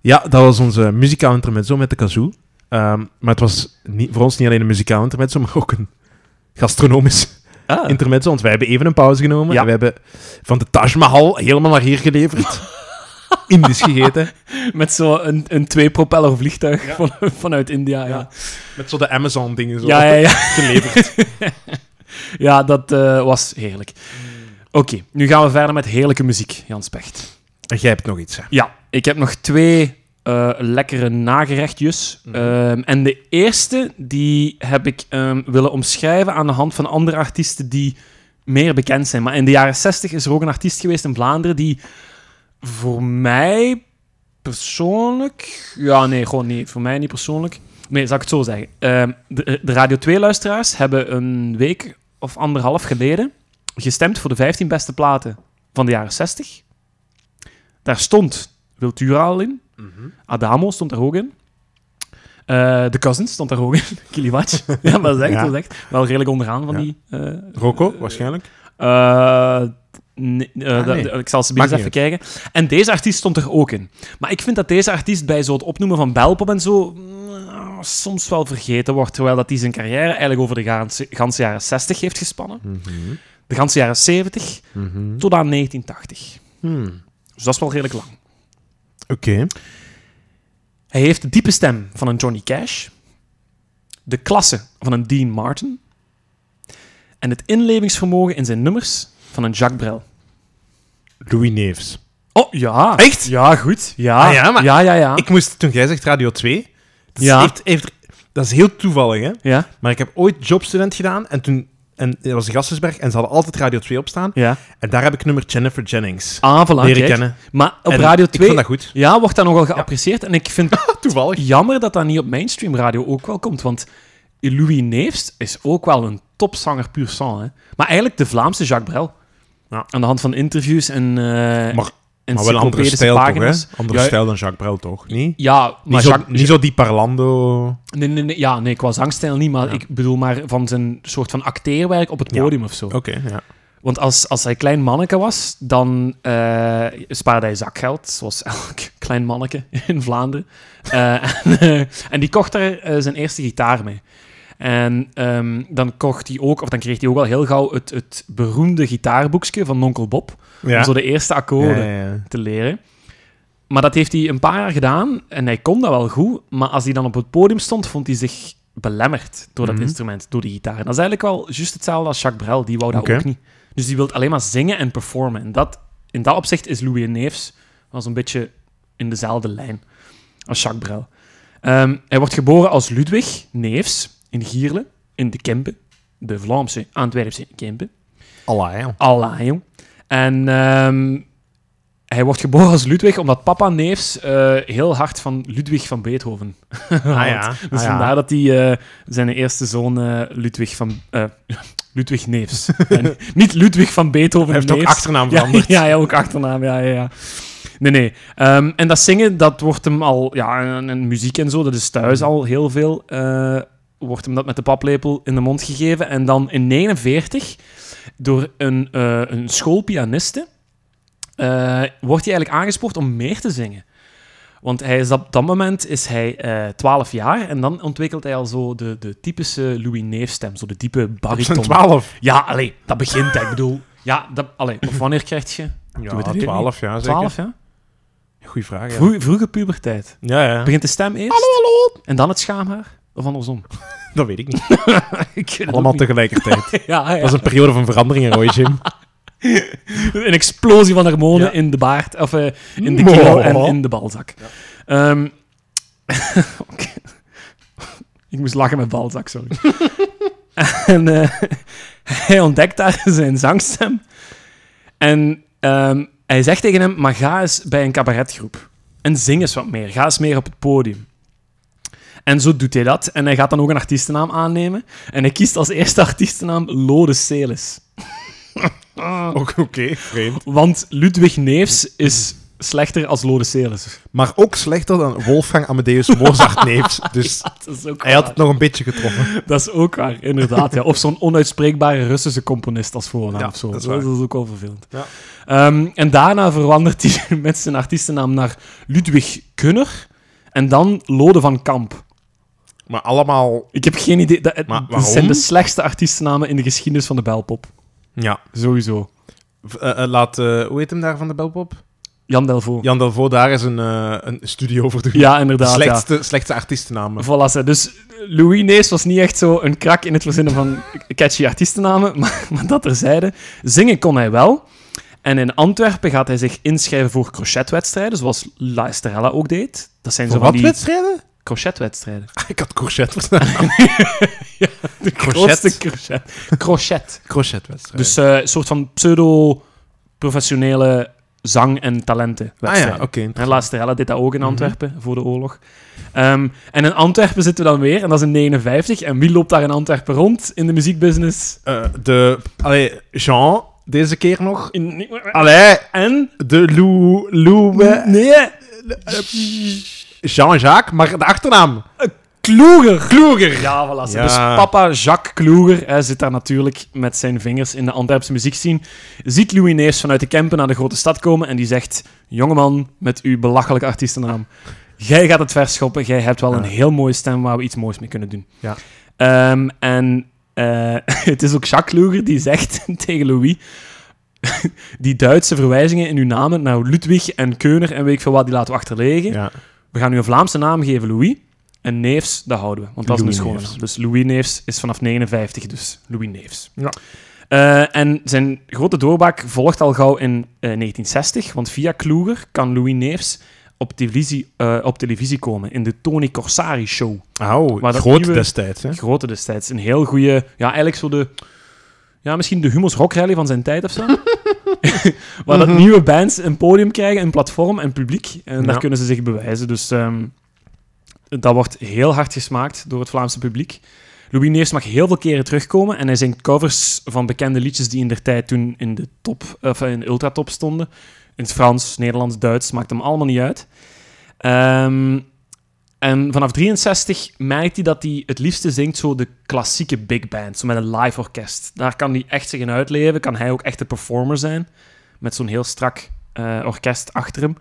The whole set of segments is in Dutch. Ja, dat was onze muzikaal intermezzo met de kazoo. Ehm, maar het was niet, voor ons niet alleen een muzikaal intermezzo, maar ook een gastronomisch Ah, intermezzo. Want wij hebben even een pauze genomen. Ja. En we hebben van de Taj Mahal helemaal naar hier geleverd. Indisch gegeten. met zo'n een, een twee-propeller vliegtuig van, vanuit India, ja. Met zo de Amazon-dingen zo Ja, ja, ja. geleverd. ja dat eh, was heerlijk. Oké, nu gaan we verder met heerlijke muziek, Jan Specht. En jij hebt nog iets, hè? Ja, ik heb nog twee eh, lekkere nagerechtjes. Mhm. Ehm, en de eerste, die heb ik ehm, willen omschrijven aan de hand van andere artiesten die meer bekend zijn. Maar in de jaren 60 is er ook een artiest geweest in Vlaanderen die voor mij persoonlijk... Ja, nee, gewoon niet. Voor mij niet persoonlijk. Nee, zal ik het zo zeggen. Ehm, de, de Radio 2-luisteraars hebben een week of anderhalf geleden gestemd voor de 15 beste platen van de jaren 60. Daar stond Wiltura al in. Adamo stond daar ook in. Eh, de Cousins stond daar ook in. Kiliwatch. ja, maar dat is echt, Ja. dat is echt wel redelijk onderaan van Ja. die... eh, Rocco, waarschijnlijk. eh, nee, eh, dat- Ah, nee. dat- Ik zal ze eens Maakt even niet kijken. En deze artiest stond er ook in. Maar ik vind dat deze artiest bij zo het opnoemen van Belpop en zo... mm, soms wel vergeten wordt, terwijl dat hij zijn carrière eigenlijk over de ganse, ganse jaren 60 heeft gespannen. Mhm. De ganse jaren 70 tot aan 1980. Hmm. Dus dat is wel redelijk lang. Oké. Hij heeft de diepe stem van een Johnny Cash, de klasse van een Dean Martin en het inlevingsvermogen in zijn nummers van een Jacques Brel. Louis Neefs. Oh ja. Echt? Ja, goed. Ja, Ah, ja, ja, maar- ja, ja. Ik moest, toen jij zegt Radio 2, dat, Ja. is, heeft, heeft, dat is heel toevallig, hè? Ja, Maar ik heb ooit jobstudent gedaan en toen en dat was in Gastelsberg en ze hadden altijd Radio 2 opstaan. ja. En daar heb ik nummer Jennifer Jennings Ah, voilà, leren kijk. kennen. Maar op En Radio Ik 2 vond dat goed. ja, wordt dat nogal geapprecieerd. En ik vind het Toevallig. jammer dat dat niet op mainstream radio ook wel komt. Want Louis Neefs is ook wel een topzanger puur sang. Hè. Maar eigenlijk de Vlaamse Jacques Brel. Ja. Aan de hand van interviews en eh Maar- en Maar wel een andere stijl pagina's. toch, hè? Andere Ja, stijl dan Jacques Brel, toch? Niet, Ja, maar niet, zo, Jacques- niet zo die parlando... Nee, nee, nee, ja, nee, qua zangstijl niet, maar Ja. ik bedoel maar van zijn soort van acteerwerk op het Ja. podium of zo. Oké, ja. Want als, als hij klein manneke was, dan eh, spaarde hij zakgeld, zoals elk klein manneke in Vlaanderen. Eh, en, eh, en die kocht er eh, zijn eerste gitaar mee. En ehm, dan kocht hij ook, of dan kreeg hij ook al heel gauw het, het beroemde gitaarboekje van Nonkel Bob. Om Ja. zo de eerste akkoorden Ja, ja, ja. te leren. Maar dat heeft hij een paar jaar gedaan en hij kon dat wel goed. Maar als hij dan op het podium stond, vond hij zich belemmerd door dat Mhm. instrument, door die gitaar. En dat is eigenlijk wel juist hetzelfde als Jacques Brel, die wou dat Oké. ook niet. Dus die wil alleen maar zingen en performen. En dat, in dat opzicht is Louis Neefs wel zo'n beetje in dezelfde lijn als Jacques Brel. Ehm, hij wordt geboren als Ludwig Neefs in Gierle, in de Kempen, de Vlaamse Antwerpse Kempen. Allah, ja. Allah, jong. En ehm, hij wordt geboren als Ludwig, omdat papa Neefs eh, heel hard van Ludwig van Beethoven Ah, houdt. ja. Dus Ah, ja. vandaar dat hij eh, zijn eerste zoon eh, Ludwig van... eh, Ludwig Neefs. En niet Ludwig van Beethoven Hij heeft ook Neefs. achternaam Ja, veranderd. Ja, ja, ook achternaam, ja, ja, ja. Nee, nee. Ehm, en dat zingen, dat wordt hem al... Ja, en, en muziek en zo, dat is Mm. thuis al heel veel. eh, wordt hem dat met de paplepel in de mond gegeven. En dan in 49, door een, eh, een schoolpianiste, eh, wordt hij eigenlijk aangespoord om meer te zingen. Want hij is op dat moment is hij eh 12 jaar en dan ontwikkelt hij al zo de, de typische Louis Neef-stem, zo de diepe Op zijn bariton. twaalf. Ja, allee, dat begint, hè. ik bedoel... Ja, dat, allee, of wanneer krijg je? Doe Ja, het hier twaalf, ja, zeker. 12, ja? Goeie vraag, ja. Vroeg, vroege puberteit. Ja, ja. Begint de stem eerst? Hallo, hallo. En dan het schaamhaar? Of andersom? Dat weet ik niet. Ik weet het Allemaal ook niet. tegelijkertijd. Ja, ja. Dat is een periode van verandering in Roy Jim. een explosie van hormonen Ja. in de baard, of eh, in de Mo. keel en in de balzak. Ehm, oké. Ik moest lachen met balzak, sorry. en eh, hij ontdekt daar zijn zangstem. En ehm, hij zegt tegen hem, maar ga eens bij een cabaretgroep. En zing eens wat meer. Ga eens meer op het podium. En zo doet hij dat. En hij gaat dan ook een artiestennaam aannemen. En hij kiest als eerste artiestennaam Lode Celis. Ook Oh, oké, vreemd. Want Ludwig Neefs is slechter als Lode Celis. Maar ook slechter dan Wolfgang Amadeus Mozart neefs. Dus Dat is ook hij had het nog een beetje getroffen. Dat is ook waar, inderdaad. Ja. Of zo'n onuitspreekbare Russische componist als voornaam Ja, of zo. dat is dat waar. is ook wel vervelend. Ja. Ehm, en daarna verandert hij met zijn artiestennaam naar Ludwig Kunner en dan Lode van Kamp. Maar allemaal... Ik heb geen idee. Dat, Maar dat zijn de waarom? slechtste artiestennamen in de geschiedenis van de belpop. Ja. Sowieso. V- eh, eh, laat... eh, hoe heet hem daar van de belpop? Jan Delvaux. Ja, Jan Delvaux, daar is een, eh, een studio voor de inderdaad. ja. slechtste, slechtste artiestennamen. Voilà, ze. dus Louis Nees was niet echt zo een krak in het verzinnen van catchy artiestennamen, maar, maar dat terzijde. Zingen kon hij wel. En in Antwerpen gaat hij zich inschrijven voor crochetwedstrijden, zoals La Estrella ook deed. Dat zijn Voor zo van wat die wedstrijden? crochetwedstrijden. Ik had crochet verstaan. De Crochet? grootste crochet. Crochet. Crochetwedstrijden. Dus eh, een soort van pseudo-professionele zang- en ah ja, talentenwedstrijden. oké. En La Estrella deed dat ook in Antwerpen voor de oorlog. Ehm, en in Antwerpen zitten we dan weer, en dat is in 59. En wie loopt daar in Antwerpen rond in de muziekbusiness? Eh, de... Allee, Jean, deze keer nog. In, Allee, en? de Lou... Lou... eh, Nee, Jean-Jacques, maar de achternaam. Kloeger. Kloeger. Ja, voilà. Ja. Dus papa Jacques Kloeger hè, zit daar natuurlijk met zijn vingers in de Antwerpse muziekscene. Ziet Louis Nees vanuit de Kempen naar de grote stad komen en die zegt... Jongeman, met uw belachelijke artiestennaam. Jij gaat het verschoppen. Jij hebt wel Ja. een heel mooie stem waar we iets moois mee kunnen doen. Ja. Ehm, en eh, het is ook Jacques Kloeger die zegt tegen Louis... Die Duitse verwijzingen in uw namen naar Ludwig en Keuner en weet ik veel wat, die laten we achterwege. Ja. We gaan nu een Vlaamse naam geven, Louis. En Neefs, dat houden we, want dat Louis is een schone Neefs. naam. Dus Louis Neefs is vanaf 59, dus Louis Neefs. Ja. Eh, en zijn grote doorbraak volgt al gauw in eh, 1960, want via Kloeger kan Louis Neefs op televisie, eh, op televisie komen in de Tony Corsari Show. Oh, Maar dat groot nieuwe- destijds, hè? Grote destijds. Een heel goede, ja, eigenlijk zo de. Ja, misschien de Hummels Rock Rally van zijn tijd of zo. Waar dat nieuwe bands een podium krijgen, een platform en publiek. En daar Ja. kunnen ze zich bewijzen. Dus ehm, dat wordt heel hard gesmaakt door het Vlaamse publiek. Louis Neers mag heel veel keren terugkomen en hij zingt covers van bekende liedjes die in der tijd toen in de top, of in de ultratop stonden. In het Frans, Nederlands, Duits, maakt hem allemaal niet uit. Ehm, en vanaf 63 merkt hij dat hij het liefste zingt zo de klassieke big band, zo met een live orkest. Daar kan hij echt zich in uitleven, kan hij ook echt de performer zijn, met zo'n heel strak eh, orkest achter hem.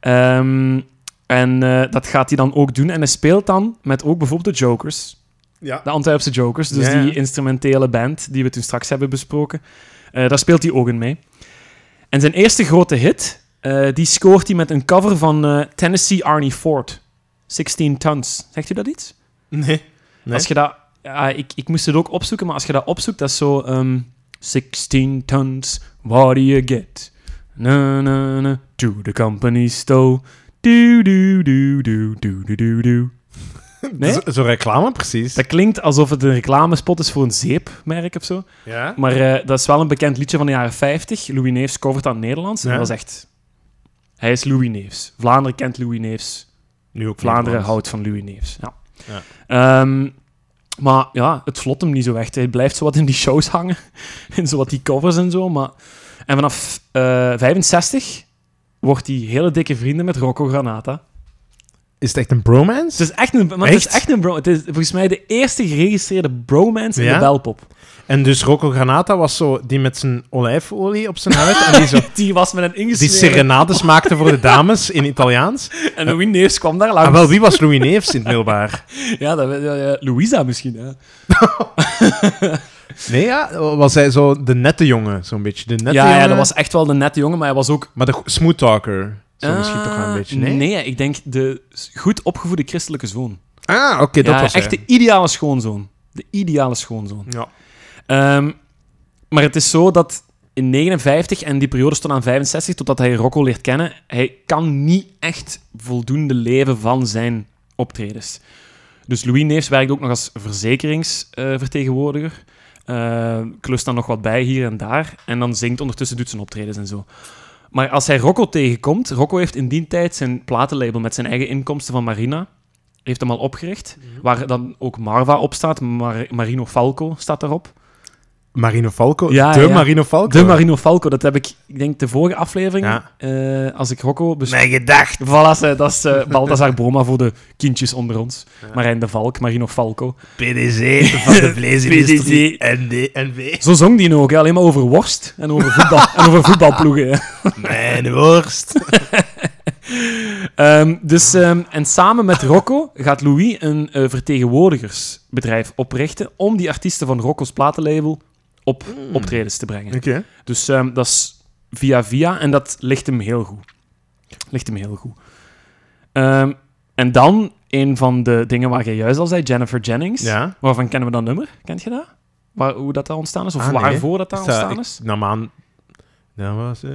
Ehm, en eh, dat gaat hij dan ook doen. En hij speelt dan met ook bijvoorbeeld de Jokers. Ja. De Antwerpse Jokers, dus Ja, ja. die instrumentele band die we toen straks hebben besproken. Eh, daar speelt hij ook in mee. En zijn eerste grote hit, eh, die scoort hij met een cover van eh, Tennessee Arnie Ford. 16 Tons. Zegt u dat iets? Nee. Nee. Als je dat... ja, ik, ik moest het ook opzoeken, maar als je dat opzoekt, dat is zo... ehm 16 Tons, what do you get? Na, na, na, to the company store. Do, do, do, do, do, do, do, do. Nee? Zo- Zo'n reclame, precies. Dat klinkt alsof het een reclamespot is voor een zeepmerk of zo. Ja. Maar eh, dat is wel een bekend liedje van de jaren 50. Louis Neefs covert aan Nederlands. En Ja. dat is echt... Hij is Louis Neefs. Vlaanderen kent Louis Neefs. Nu ook Vlaanderen Nederlands. houdt van Louis Neefs. Ja. Ehm, maar ja, het vlot hem niet zo echt. Hij blijft zo wat in die shows hangen. In zo wat die covers en zo. Maar... En vanaf eh 65 wordt hij hele dikke vrienden met Rocco Granata. Is het echt een bromance? Het is echt een, maar het is Echt? echt een bro. Het is volgens mij de eerste geregistreerde bromance in Ja? de belpop. En dus Rocco Granata was zo die met zijn olijfolie op zijn huid en die, zo, Die was met een die ingesneden. serenades maakte voor de dames in Italiaans. En Louis Neefs kwam daar Ah, langs. wel, wie was Louis Neefs in het middelbaar? Ja, dat, weet- ja, ja, Louisa misschien. Hè. Nee, ja, was hij zo de nette jongen, zo'n beetje. De nette Ja, ja, jongen, dat was echt wel de nette jongen, maar hij was ook... Maar de go- smooth talker, zo Ah, misschien toch wel een beetje. Nee? Nee, ik denk de s- goed opgevoede christelijke zoon. Ah, oké, dat ja, was echt hij. de ideale schoonzoon. De ideale schoonzoon. Ja. Ehm, maar het is zo dat in 59 en die periode stond aan 65, totdat hij Rocco leert kennen, hij kan niet echt voldoende leven van zijn optredens. Dus Louis Neefs werkt ook nog als verzekeringsvertegenwoordiger. klust dan nog wat bij hier en daar. En dan zingt ondertussen, doet zijn optredens en zo. Maar als hij Rocco tegenkomt... Rocco heeft in die tijd zijn platenlabel met zijn eigen inkomsten van Marina... heeft hem al opgericht. Waar dan ook Marva op staat. Mar- Marino Falco staat daarop. Marino Falco? Ja, de ja, ja. Marino Falco? De Marino Falco, dat heb ik, ik denk, de vorige aflevering, Ja. eh, als ik Rocco bespreek. Dus Mijn gedacht. Voilà, ze- dat is eh Balthazar Boma voor de kindjes onder ons. Marijn de Valk, Marino Falco. PDC van de vleesindustrie. NV. Zo zong die nou ook, hè, alleen maar over worst en over, voetbal, en over voetbalploegen. hè. Mijn worst. Ehm, dus, ehm, en samen met Rocco gaat Louis een eh, vertegenwoordigersbedrijf oprichten om die artiesten van Rocco's platenlabel op optredens te brengen. Oké. Dus ehm, dat is via via en dat ligt hem heel goed. Ligt hem heel goed. Ehm, en dan een van de dingen waar jij juist al zei, Jennifer Jennings. Ja. Waarvan kennen we dat nummer? Kent je dat? Waar, hoe dat daar ontstaan is? Of Ah, nee. waarvoor dat daar Ik sta- ontstaan ik- is? nam aan... Dat was... eh,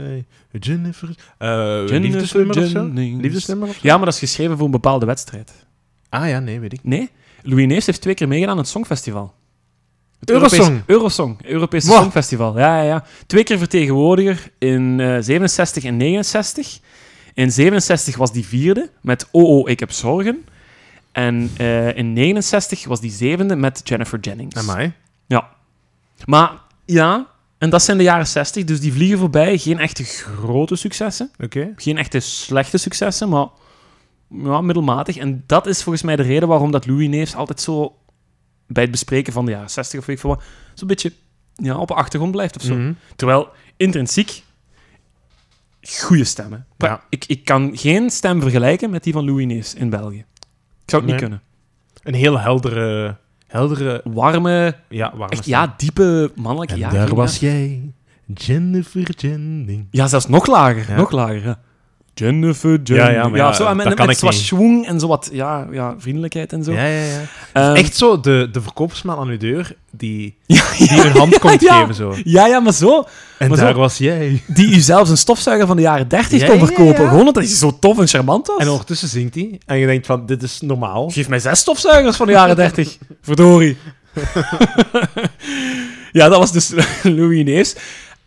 Jennifer... eh liefdesnummer Jennifer of zo? Jennings. Liefdesnummer of zo? Ja, maar dat is geschreven voor een bepaalde wedstrijd. Ah ja, nee, weet ik. Nee, Louis Neefs heeft twee keer meegedaan aan het Songfestival. Het Eurosong. Europees- Eurosong, Europese Wow. Songfestival. Ja, ja, ja. Twee keer vertegenwoordiger in eh, 67 en 69. In 67 was die vierde met OO, ik heb zorgen. En eh, in 69 was die zevende met Jennifer Jennings. Amai. Ja. Maar ja, en dat zijn de jaren 60, dus die vliegen voorbij. Geen echte grote successen. Oké. Geen echte slechte successen, maar ja, middelmatig. En dat is volgens mij de reden waarom dat Louis Neefs altijd zo bij het bespreken van de jaren 60 of weet ik veel wat, zo'n beetje ja, op de achtergrond blijft of zo. Mhm. Terwijl intrinsiek goede stemmen. Pra- Ja. Ik, ik kan geen stem vergelijken met die van Louis Neefs in België. Ik zou het Nee. niet kunnen. Een heel heldere... Heldere... Warme, Ja, warme echt stem. ja, diepe mannelijke En ja, daar ja. was jij, Jennifer Jennings. Ja, zelfs nog lager. Ja. Nog lager, ja. Jennifer, Jennifer. Ja, ja, maar ja, zo, en met, dat kan met ik zo wat niet. schwung en zo wat ja, ja, vriendelijkheid en zo. Ja, ja, ja. Ehm, Echt zo, de, de verkoopsman aan uw deur, die, Ja, die ja, een hand komt ja. geven zo. ja, ja, maar zo. En Maar zo- daar was jij. Die u zelfs een stofzuiger van de jaren 30 Ja, kon ja, verkopen. ja. Gewoon omdat hij zo tof en charmant was. En ondertussen zingt hij. En je denkt van, dit is normaal. Geef mij zes stofzuigers van de jaren 30. Verdorie. ja, dat was dus Louis Neefs.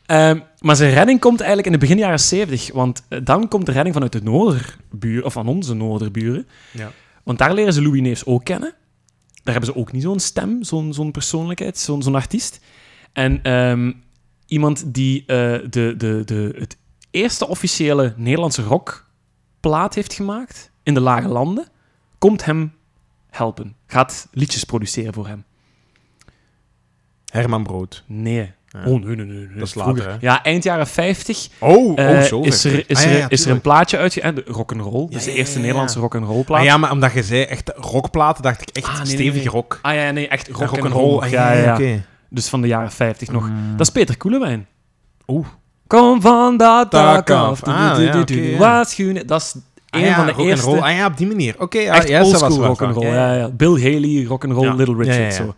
Ehm, maar zijn redding komt eigenlijk in de begin jaren 70. Want eh, dan komt de redding vanuit de Noorderbuur, of van onze Noorderburen. Ja. Want daar leren ze Louis Neefs ook kennen. Daar hebben ze ook niet zo'n stem, zo'n zo'n persoonlijkheid, zo'n zo'n artiest. En ehm, iemand die eh, de, de, de, het eerste officiële Nederlandse rockplaat heeft gemaakt in de Lage Landen, komt hem helpen. Gaat liedjes produceren voor hem. Herman Brood. Nee. Ja. Oh, nee, nee, nee. nee. Dat is Vroeger. later, hè? Ja, eind jaren 50 Oh, eh, is, er, is, Ah, ja, ja, er, is er een tuurlijk. plaatje uitgegeven. eh, de Rock'n'roll. dus de ja, eerste ja, ja. Nederlandse rock'n'roll plaat. Ah, ja, maar omdat je zei echt rockplaten, dacht ik echt Ah, nee, nee, stevige nee. rock. Ah, ja, nee, echt Ja, rock, and Rock'n'roll. roll. Ah, Ja, ja, ja. oké. Dus van de jaren 50 nog. Mm. Dat is Peter Koelewijn. Oeh. Kom van dat Dak dak af. af. Ah, Du- du- ja, du- du- oké, du- ja. waarschuwen. Dat is Ah, een ja, van de rock and eerste... roll. Ah ja, op die manier. Oké, ja, echt ja, dat was oldschool wel rock and roll. waar. Ja, ja. Bill Haley, rock and roll, Ja. Little Richard. Ja, ja, ja. Zo.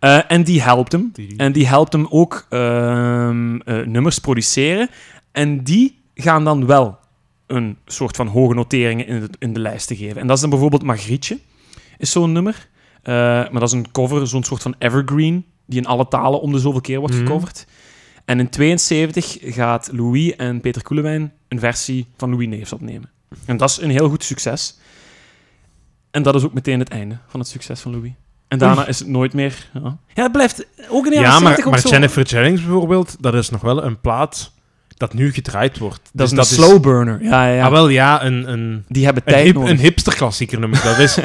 Eh, en die helpt hem. Die- En die helpt hem ook ehm, eh, nummers produceren. En die gaan dan wel een soort van hoge noteringen in de, in de lijsten geven. En dat is dan bijvoorbeeld Margrietje, is zo'n nummer. Eh, maar dat is een cover, zo'n soort van evergreen, die in alle talen om de zoveel keer wordt Mhm. gecoverd. En in 72 gaat Louis en Peter Koelewijn een versie van Louis Neefs opnemen. En dat is een heel goed succes. En dat is ook meteen het einde van het succes van Louis. En daarna is het nooit meer... Ja, ja het blijft ook in de Ja, jaren 70 maar, ook maar zo. Jennifer Jennings bijvoorbeeld, dat is nog wel een plaat dat nu gedraaid wordt. Dat Dus is een slow burner. Ja, ja, ja. Ah, wel ja, een, een, Die hebben een, tijd hip, nodig. een hipsterklassieker noem ik dat. Dus,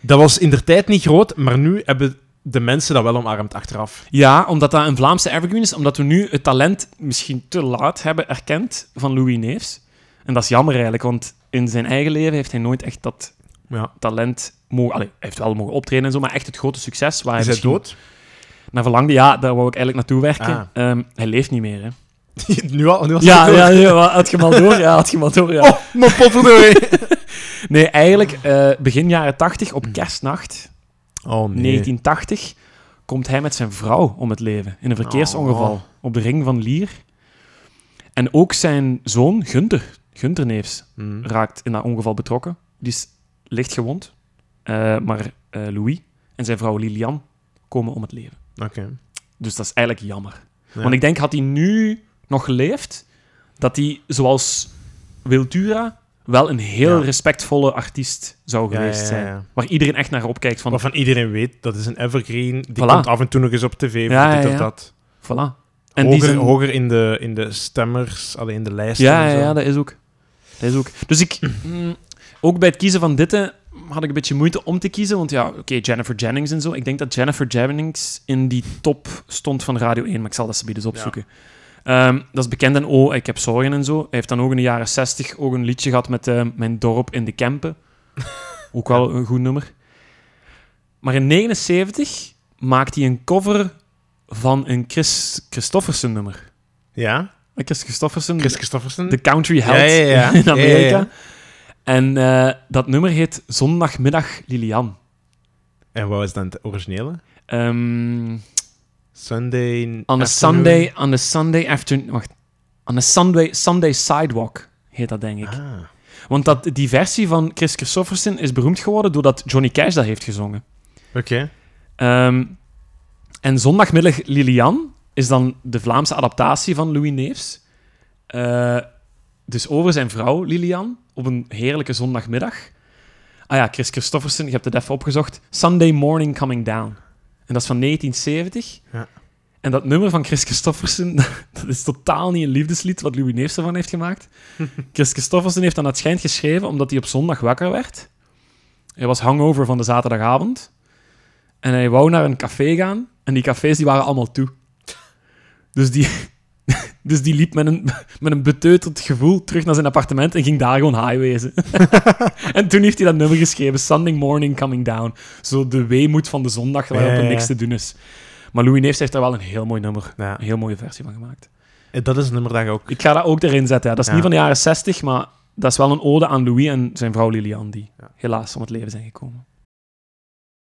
dat was in der tijd niet groot, maar nu hebben de mensen dat wel omarmd achteraf. Ja, omdat dat een Vlaamse evergreen is. Omdat we nu het talent misschien te laat hebben erkend van Louis Neefs. En dat is jammer eigenlijk, want in zijn eigen leven heeft hij nooit echt dat Ja. talent mogen... Allee, hij heeft wel mogen optreden en zo, maar echt het grote succes waar hij Is hij Ah, misschien dood? naar verlangde. Ja, daar wou ik eigenlijk naartoe werken. Ah. Ehm, hij leeft niet meer, hè. nu al? Nu was Ja, hij dood. ja, ja, had je hem al door? Ja, had je hem al door, ja. Oh, mijn potverdorie. Nee, eigenlijk eh, begin jaren 80, op kerstnacht Oh, 1980 komt hij met zijn vrouw om het leven in een verkeersongeval Oh. op de ring van Lier. En ook zijn zoon, Gunther, Gunther Neefs, Hmm. raakt in dat ongeval betrokken. Die is licht gewond, Eh, maar eh, Louis en zijn vrouw Lilian komen om het leven. Oké. Dus dat is eigenlijk jammer. Ja. Want ik denk, had hij nu nog geleefd, dat hij, zoals Wiltura, wel een heel Ja. respectvolle artiest zou Ja, geweest ja, ja, zijn. ja. Waar iedereen echt naar opkijkt van, Waarvan iedereen weet, dat is een evergreen. Die Voilà. komt af en toe nog eens op tv. voor Ja, dit ja, of ja. dat. Voilà. En En hoger, die zijn- hoger in, de, in de stemmers, alleen in de lijst. ja, en ja, zo. ja, dat is ook. Dat is ook. Dus ik, mm, ook bij het kiezen van dit eh, had ik een beetje moeite om te kiezen. Want ja, oké, Jennifer Jennings en zo. Ik denk dat Jennifer Jennings in die top stond van Radio 1, maar ik zal dat ze dus opzoeken. Ehm, dat is bekend en oh, ik heb zorgen en zo. Hij heeft dan ook in de jaren 60 ook een liedje gehad met eh, Mijn dorp in de Kempen. ook wel een goed nummer. Maar in 79 maakt hij een cover van een Chris Christoffersen nummer. ja. Chris Christoffersen, Chris Christofferson. de country held Mhm. Ja, ja, ja. in Ja, Amerika. ja, En eh, dat nummer heet Zondagmiddag Lilian. En wat is dan het originele? Ehm, Sunday. on, a afternoon. Sunday, on a Sunday afternoon... Wacht. On a Sunday, Sunday Sidewalk heet dat, denk ik. Ah. Want dat, die versie van Chris Christofferson is beroemd geworden doordat Johnny Cash dat heeft gezongen. Oké. Ehm, en Zondagmiddag Lilian is dan de Vlaamse adaptatie van Louis Neefs. Eh, dus over zijn vrouw Lilian op een heerlijke zondagmiddag. Ah ja, Chris Christofferson, je hebt het even opgezocht. Sunday Morning Coming Down. En dat is van 1970. Ja. En dat nummer van Chris Christofferson, dat is totaal niet een liefdeslied wat Louis Neefs ervan heeft gemaakt. Chris Christofferson heeft dan het schijnt geschreven omdat hij op zondag wakker werd. Hij was hangover van de zaterdagavond. En hij wou naar een café gaan. En die cafés die waren allemaal toe. Dus die, dus die liep met een, met een beteuterd gevoel terug naar zijn appartement en ging daar gewoon high wezen. en toen heeft hij dat nummer geschreven, Sunday Morning Coming Down. Zo de weemoed van de zondag waarop Ja, ja, er ja. niks te doen is. Maar Louis Neefs heeft daar wel een heel mooi nummer, Ja. een heel mooie versie van gemaakt. Eh, Nou, Dat is een nummer dat je ook. Ik ga dat ook erin zetten. ja. Dat is Ja. niet van de jaren 60, maar dat is wel een ode aan Louis en zijn vrouw Lilian, die helaas om het leven zijn gekomen.